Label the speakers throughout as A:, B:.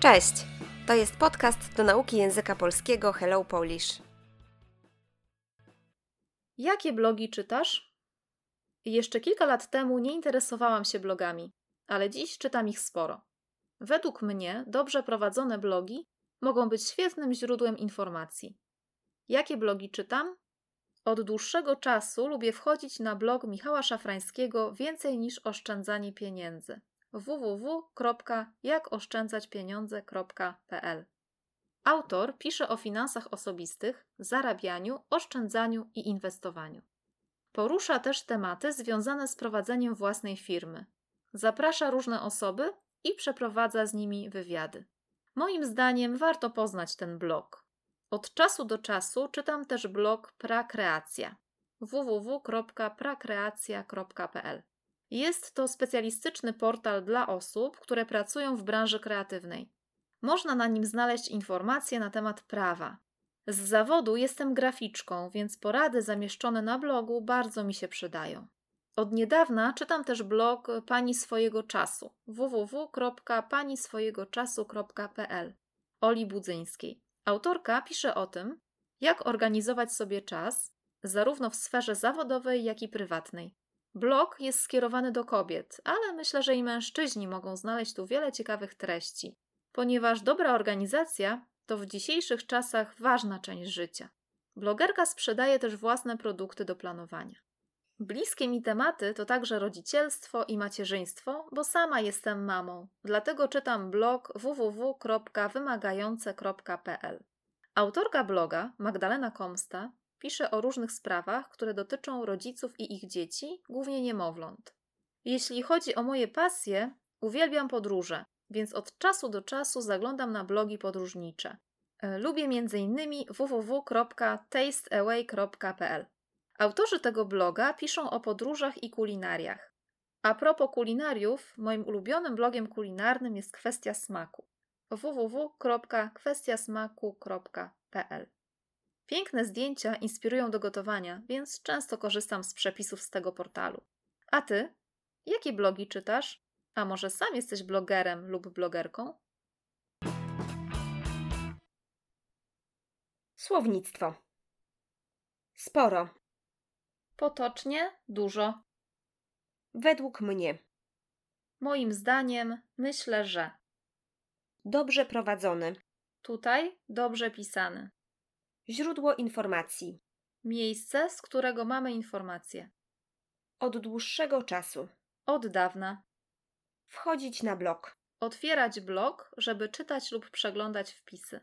A: Cześć! To jest podcast do nauki języka polskiego Hello Polish.
B: Jakie blogi czytasz? Jeszcze kilka lat temu nie interesowałam się blogami, ale dziś czytam ich sporo. Według mnie dobrze prowadzone blogi mogą być świetnym źródłem informacji. Jakie blogi czytam? Od dłuższego czasu lubię wchodzić na blog Michała Szafrańskiego Więcej niż oszczędzanie pieniędzy www.jakoszczędzaćpieniądze.pl Autor pisze o finansach osobistych, zarabianiu, oszczędzaniu i inwestowaniu. Porusza też tematy związane z prowadzeniem własnej firmy. Zaprasza różne osoby i przeprowadza z nimi wywiady. Moim zdaniem warto poznać ten blog. Od czasu do czasu czytam też blog Prakreacja www.prakreacja.pl. Jest to specjalistyczny portal dla osób, które pracują w branży kreatywnej można na nim znaleźć informacje na temat prawa. Z zawodu jestem graficzką, więc porady zamieszczone na blogu bardzo mi się przydają. Od niedawna czytam też blog Pani Swojego Czasu www.paniswojegoczasu.pl Oli Budzyńskiej. Autorka pisze o tym, jak organizować sobie czas, zarówno w sferze zawodowej, jak i prywatnej. Blog jest skierowany do kobiet, ale myślę, że i mężczyźni mogą znaleźć tu wiele ciekawych treści ponieważ dobra organizacja to w dzisiejszych czasach ważna część życia. Blogerka sprzedaje też własne produkty do planowania. Bliskie mi tematy to także rodzicielstwo i macierzyństwo, bo sama jestem mamą, dlatego czytam blog www.wymagające.pl. Autorka bloga, Magdalena Komsta, pisze o różnych sprawach, które dotyczą rodziców i ich dzieci, głównie niemowląt. Jeśli chodzi o moje pasje, uwielbiam podróże, więc od czasu do czasu zaglądam na blogi podróżnicze. E, Lubię m.in. www.tasteaway.pl. Autorzy tego bloga piszą o podróżach i kulinariach. A propos kulinariów, moim ulubionym blogiem kulinarnym jest Kwestia Smaku. www.kwestiasmaku.pl Piękne zdjęcia inspirują do gotowania, więc często korzystam z przepisów z tego portalu. A ty? Jakie blogi czytasz? A może sam jesteś blogerem lub blogerką?
A: Słownictwo. Sporo,
B: Potocznie dużo.
A: według mnie,
B: Moim zdaniem myślę, że
A: dobrze prowadzone,
B: tutaj dobrze pisany.
A: źródło informacji,
B: Miejsce, z którego mamy informacje.
A: od dłuższego czasu,
B: Od dawna.
A: wchodzić na blog,
B: Otwierać blog, żeby czytać lub przeglądać wpisy.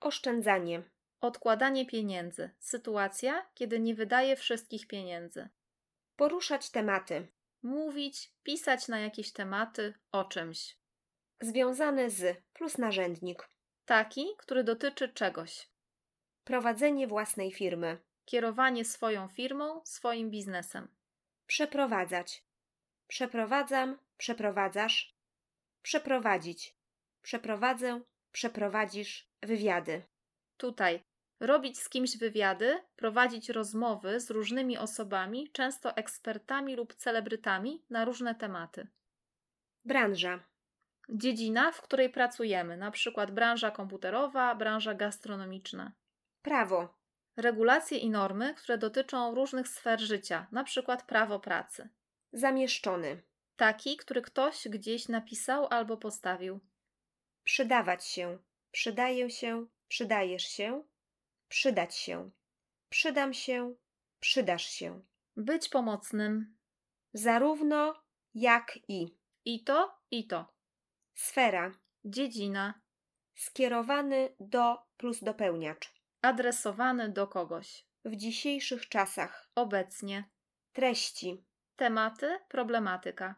A: oszczędzanie,
B: Odkładanie pieniędzy. Sytuacja, kiedy nie wydaje wszystkich pieniędzy.
A: poruszać tematy
B: Mówić, pisać na jakieś tematy, o czymś.
A: związane z plus narzędnik,
B: Taki, który dotyczy czegoś.
A: prowadzenie własnej firmy,
B: Kierowanie swoją firmą, swoim biznesem.
A: przeprowadzać, przeprowadzam, przeprowadzasz, przeprowadzić, przeprowadzę, przeprowadzisz, wywiady.
B: Tutaj robić z kimś wywiady, prowadzić rozmowy z różnymi osobami, często ekspertami lub celebrytami na różne tematy.
A: Branża.
B: Dziedzina, w której pracujemy, na przykład branża komputerowa, branża gastronomiczna.
A: Prawo.
B: Regulacje i normy, które dotyczą różnych sfer życia, na przykład prawo pracy.
A: Zamieszczony.
B: Taki, który ktoś gdzieś napisał albo postawił.
A: Przydawać się. Przydaję się. Przydajesz się. Przydać się. Przydam się. Przydasz się.
B: Być pomocnym.
A: Zarówno jak i.
B: I to, i to.
A: Sfera.
B: Dziedzina.
A: Skierowany do plus dopełniacz.
B: Adresowany do kogoś.
A: W dzisiejszych czasach.
B: Obecnie.
A: Treści.
B: Tematy, problematyka.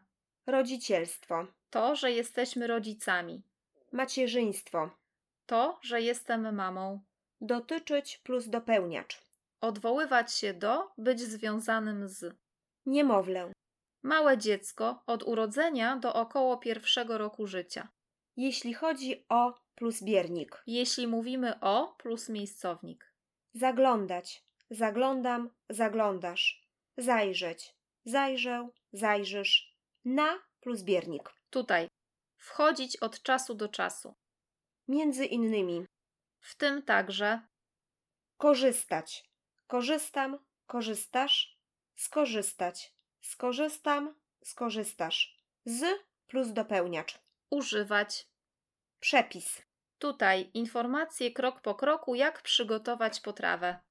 A: Rodzicielstwo.
B: To, że jesteśmy rodzicami.
A: Macierzyństwo.
B: To, że jestem mamą.
A: Dotyczyć plus dopełniacz.
B: Odwoływać się do, być związanym z.
A: Niemowlę.
B: Małe dziecko od urodzenia do około pierwszego roku życia.
A: Jeśli chodzi o plus biernik.
B: Jeśli mówimy o plus miejscownik.
A: Zaglądać. Zaglądam, zaglądasz. Zajrzeć. Zajrzę, zajrzysz. Na plus biernik.
B: Tutaj. Wchodzić od czasu do czasu.
A: Między innymi
B: w tym także
A: korzystać, korzystam, korzystasz, skorzystać, skorzystam, skorzystasz. Z plus dopełniacz.
B: używać.
A: Przepis.
B: Tutaj informacje krok po kroku, jak przygotować potrawę.